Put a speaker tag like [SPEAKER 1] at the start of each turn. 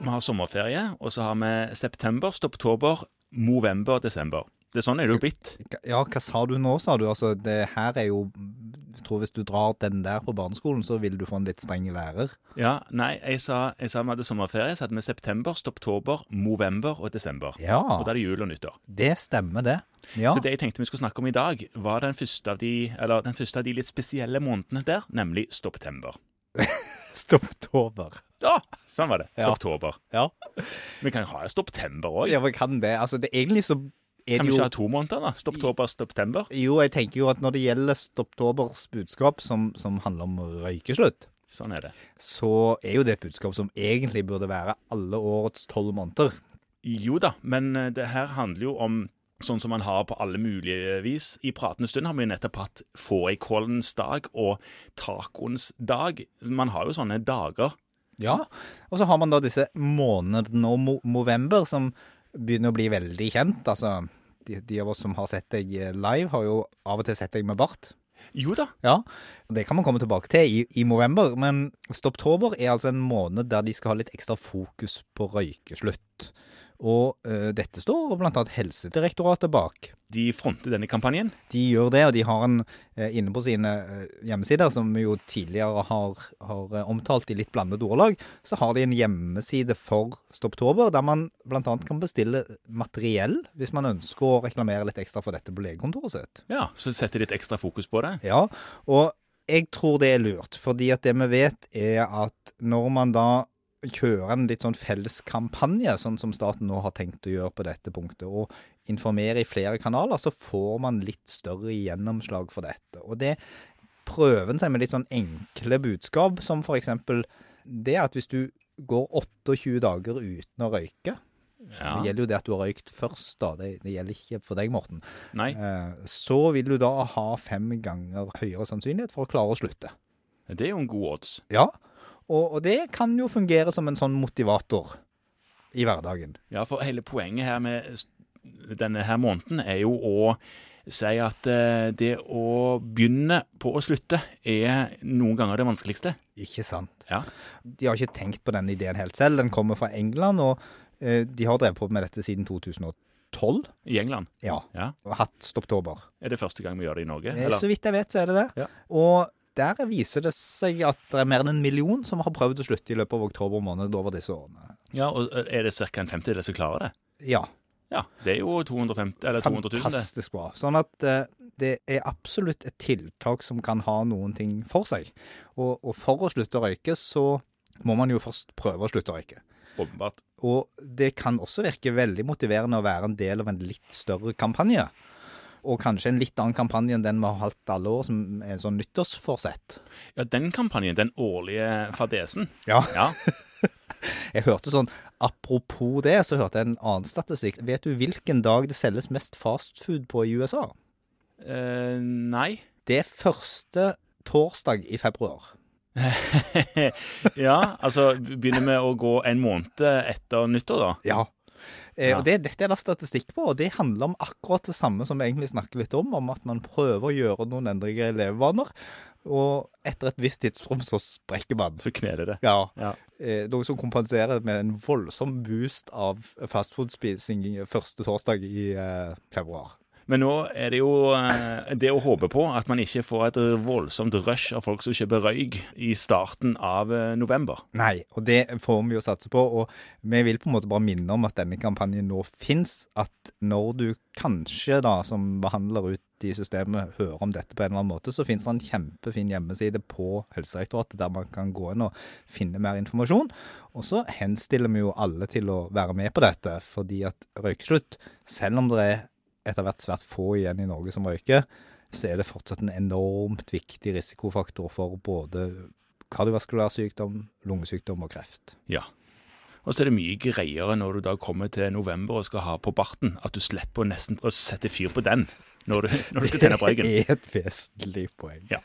[SPEAKER 1] vi har sommerferie, og så har vi september, oktober, november, desember. Det er sånn er det jo blitt.
[SPEAKER 2] Ja, hva sa du nå, sa du? Altså, det her er jo Jeg tror hvis du drar den der på barneskolen, så vil du få en litt streng lærer.
[SPEAKER 1] Ja, nei, jeg sa, jeg sa vi hadde sommerferie, så hadde vi september, oktober, november og desember.
[SPEAKER 2] Ja,
[SPEAKER 1] Og da er det jul og nyttår.
[SPEAKER 2] det stemmer, det. Ja.
[SPEAKER 1] Så det jeg tenkte vi skulle snakke om i dag, var den første av de, eller den første av de litt spesielle månedene der, nemlig stopptember.
[SPEAKER 2] Stopptober.
[SPEAKER 1] Ja, sånn var det.
[SPEAKER 2] Ja.
[SPEAKER 1] Stopptober.
[SPEAKER 2] Ja.
[SPEAKER 1] Vi kan jo ha stopptember òg.
[SPEAKER 2] ja, men kan det. Altså, det, egentlig så er
[SPEAKER 1] Kan
[SPEAKER 2] det
[SPEAKER 1] vi
[SPEAKER 2] jo
[SPEAKER 1] ikke ha to måneder, da? Stopptober, stopptember.
[SPEAKER 2] Jo, jeg tenker jo at når det gjelder Stopptobers budskap, som, som handler om røykeslutt,
[SPEAKER 1] Sånn er det.
[SPEAKER 2] så er jo det et budskap som egentlig burde være alle årets tolv måneder.
[SPEAKER 1] Jo da, men eh, det her handler jo om sånn som man har på alle mulige vis. I pratende stund har vi jo nettopp hatt fårikålens dag og tacoens dag. Man har jo sånne dager.
[SPEAKER 2] Ja, og så har man da disse månedene og mo- november som begynner å bli veldig kjent. Altså, de, de av oss som har sett deg live, har jo av og til sett deg med bart.
[SPEAKER 1] Jo da,
[SPEAKER 2] Ja, og det kan man komme tilbake til i, i november, men Stopptober er altså en måned der de skal ha litt ekstra fokus på røykeslutt. Og eh, dette står blant annet Helsedirektoratet bak.
[SPEAKER 1] de fronter denne kampanjen.
[SPEAKER 2] De gjør det, og de har en eh, inne på sine eh, hjemmesider, som vi jo tidligere har, har eh, omtalt i litt blandet ordelag, så har de en hjemmeside for Stopptober, der man bl.a. kan bestille materiell hvis man ønsker å reklamere litt ekstra for dette på legekontoret sitt.
[SPEAKER 1] Ja, Så setter de et ekstra fokus på det.
[SPEAKER 2] Ja, og jeg tror det er lurt, fordi at det vi vet er at når man da kjører en litt sånn felles kampanje, sånn som staten nå har tenkt å gjøre på dette punktet, og informere i flere kanaler, så får man litt større gjennomslag for dette. Og det prøver en seg med litt sånn enkle budskap, som for eksempel det at hvis du går 28 dager uten å røyke,
[SPEAKER 1] Ja,
[SPEAKER 2] det gjelder jo det at du har røykt først da, det, det gjelder ikke for deg, Morten,
[SPEAKER 1] Nei,
[SPEAKER 2] Eh, så vil du da ha fem ganger høyere sannsynlighet for å klare å slutte.
[SPEAKER 1] det er jo en god odds.
[SPEAKER 2] Ja, og, og det kan jo fungere som en sånn motivator i hverdagen.
[SPEAKER 1] Ja, for hele poenget her med s- denne her måneden er jo å si at eh, det å begynne på å slutte er noen ganger det vanskeligste.
[SPEAKER 2] Ikke sant?
[SPEAKER 1] Ja.
[SPEAKER 2] De har ikke tenkt på den ideen helt selv. Den kommer fra England, og eh, de har drevet på med dette siden 2012.
[SPEAKER 1] I England.
[SPEAKER 2] Ja,
[SPEAKER 1] Ja.
[SPEAKER 2] og hatt stopptober.
[SPEAKER 1] Er det første gang vi gjør det i Norge?
[SPEAKER 2] Eh,
[SPEAKER 1] Eller?
[SPEAKER 2] Så vidt jeg vet, så er det det.
[SPEAKER 1] Ja.
[SPEAKER 2] Og der viser det seg at det er mer enn en million som har prøvd å slutte i løpet av oktober måned over disse årene.
[SPEAKER 1] Ja, og Er det ca. en femtedel som klarer det?
[SPEAKER 2] Ja,
[SPEAKER 1] Ja, det er jo 250, eller 200 000. Det.
[SPEAKER 2] Fantastisk bra. Sånn at eh, det er absolutt et tiltak som kan ha noen ting for seg. Og, og for å slutte å røyke, så må man jo først prøve å slutte å røyke.
[SPEAKER 1] Åpenbart.
[SPEAKER 2] Og det kan også virke veldig motiverende å være en del av en litt større kampanje. Og kanskje en litt annen kampanje enn den vi har hatt alle år, som er en sånn nyttårsforsett.
[SPEAKER 1] Ja, den kampanjen, den årlige fadesen.
[SPEAKER 2] Ja.
[SPEAKER 1] Ja,
[SPEAKER 2] Jeg hørte sånn, Apropos det, så hørte jeg en annen statistikk. Vet du hvilken dag det selges mest fastfood på i USA?
[SPEAKER 1] eh, Nei.
[SPEAKER 2] Det er første torsdag i februar.
[SPEAKER 1] ja, altså begynner vi å gå en måned etter nyttår, da?
[SPEAKER 2] Ja. Eh,
[SPEAKER 1] Ja.
[SPEAKER 2] Og det, dette er det statistikk på, og det handler om akkurat det samme som vi egentlig snakker litt om, om at man prøver å gjøre noen endringer i levevaner, og etter et visst tidsrom så sprekker man.
[SPEAKER 1] Så kneler det.
[SPEAKER 2] Ja.
[SPEAKER 1] Ja.
[SPEAKER 2] Eh, noe som kompenserer med en voldsom boost av fastfood-spising første torsdag i eh, februar.
[SPEAKER 1] Men nå er det jo eh, det å håpe på at man ikke får et voldsomt rush av folk som kjøper røyk i starten av eh, november.
[SPEAKER 2] Nei, og det får vi jo satse på. Og vi vil på en måte bare minne om at denne kampanjen nå fins. At når du kanskje, da, som behandler ut i systemet, hører om dette på en eller annen måte, så fins det en kjempefin hjemmeside på Helsedirektoratet der man kan gå inn og finne mer informasjon. Og så henstiller vi jo alle til å være med på dette, fordi at røykeslutt, selv om det er etter hvert svært få igjen i Norge som røyker, så er det fortsatt en enormt viktig risikofaktor for både kardiovaskulær sykdom, lungesykdom og kreft.
[SPEAKER 1] Ja. Og så er det mye greiere når du da kommer til november og skal ha på barten, at du slipper å nesten å sette fyr på den når du, når du skal tenne på røyken.
[SPEAKER 2] Det er et vesentlig poeng.
[SPEAKER 1] Ja.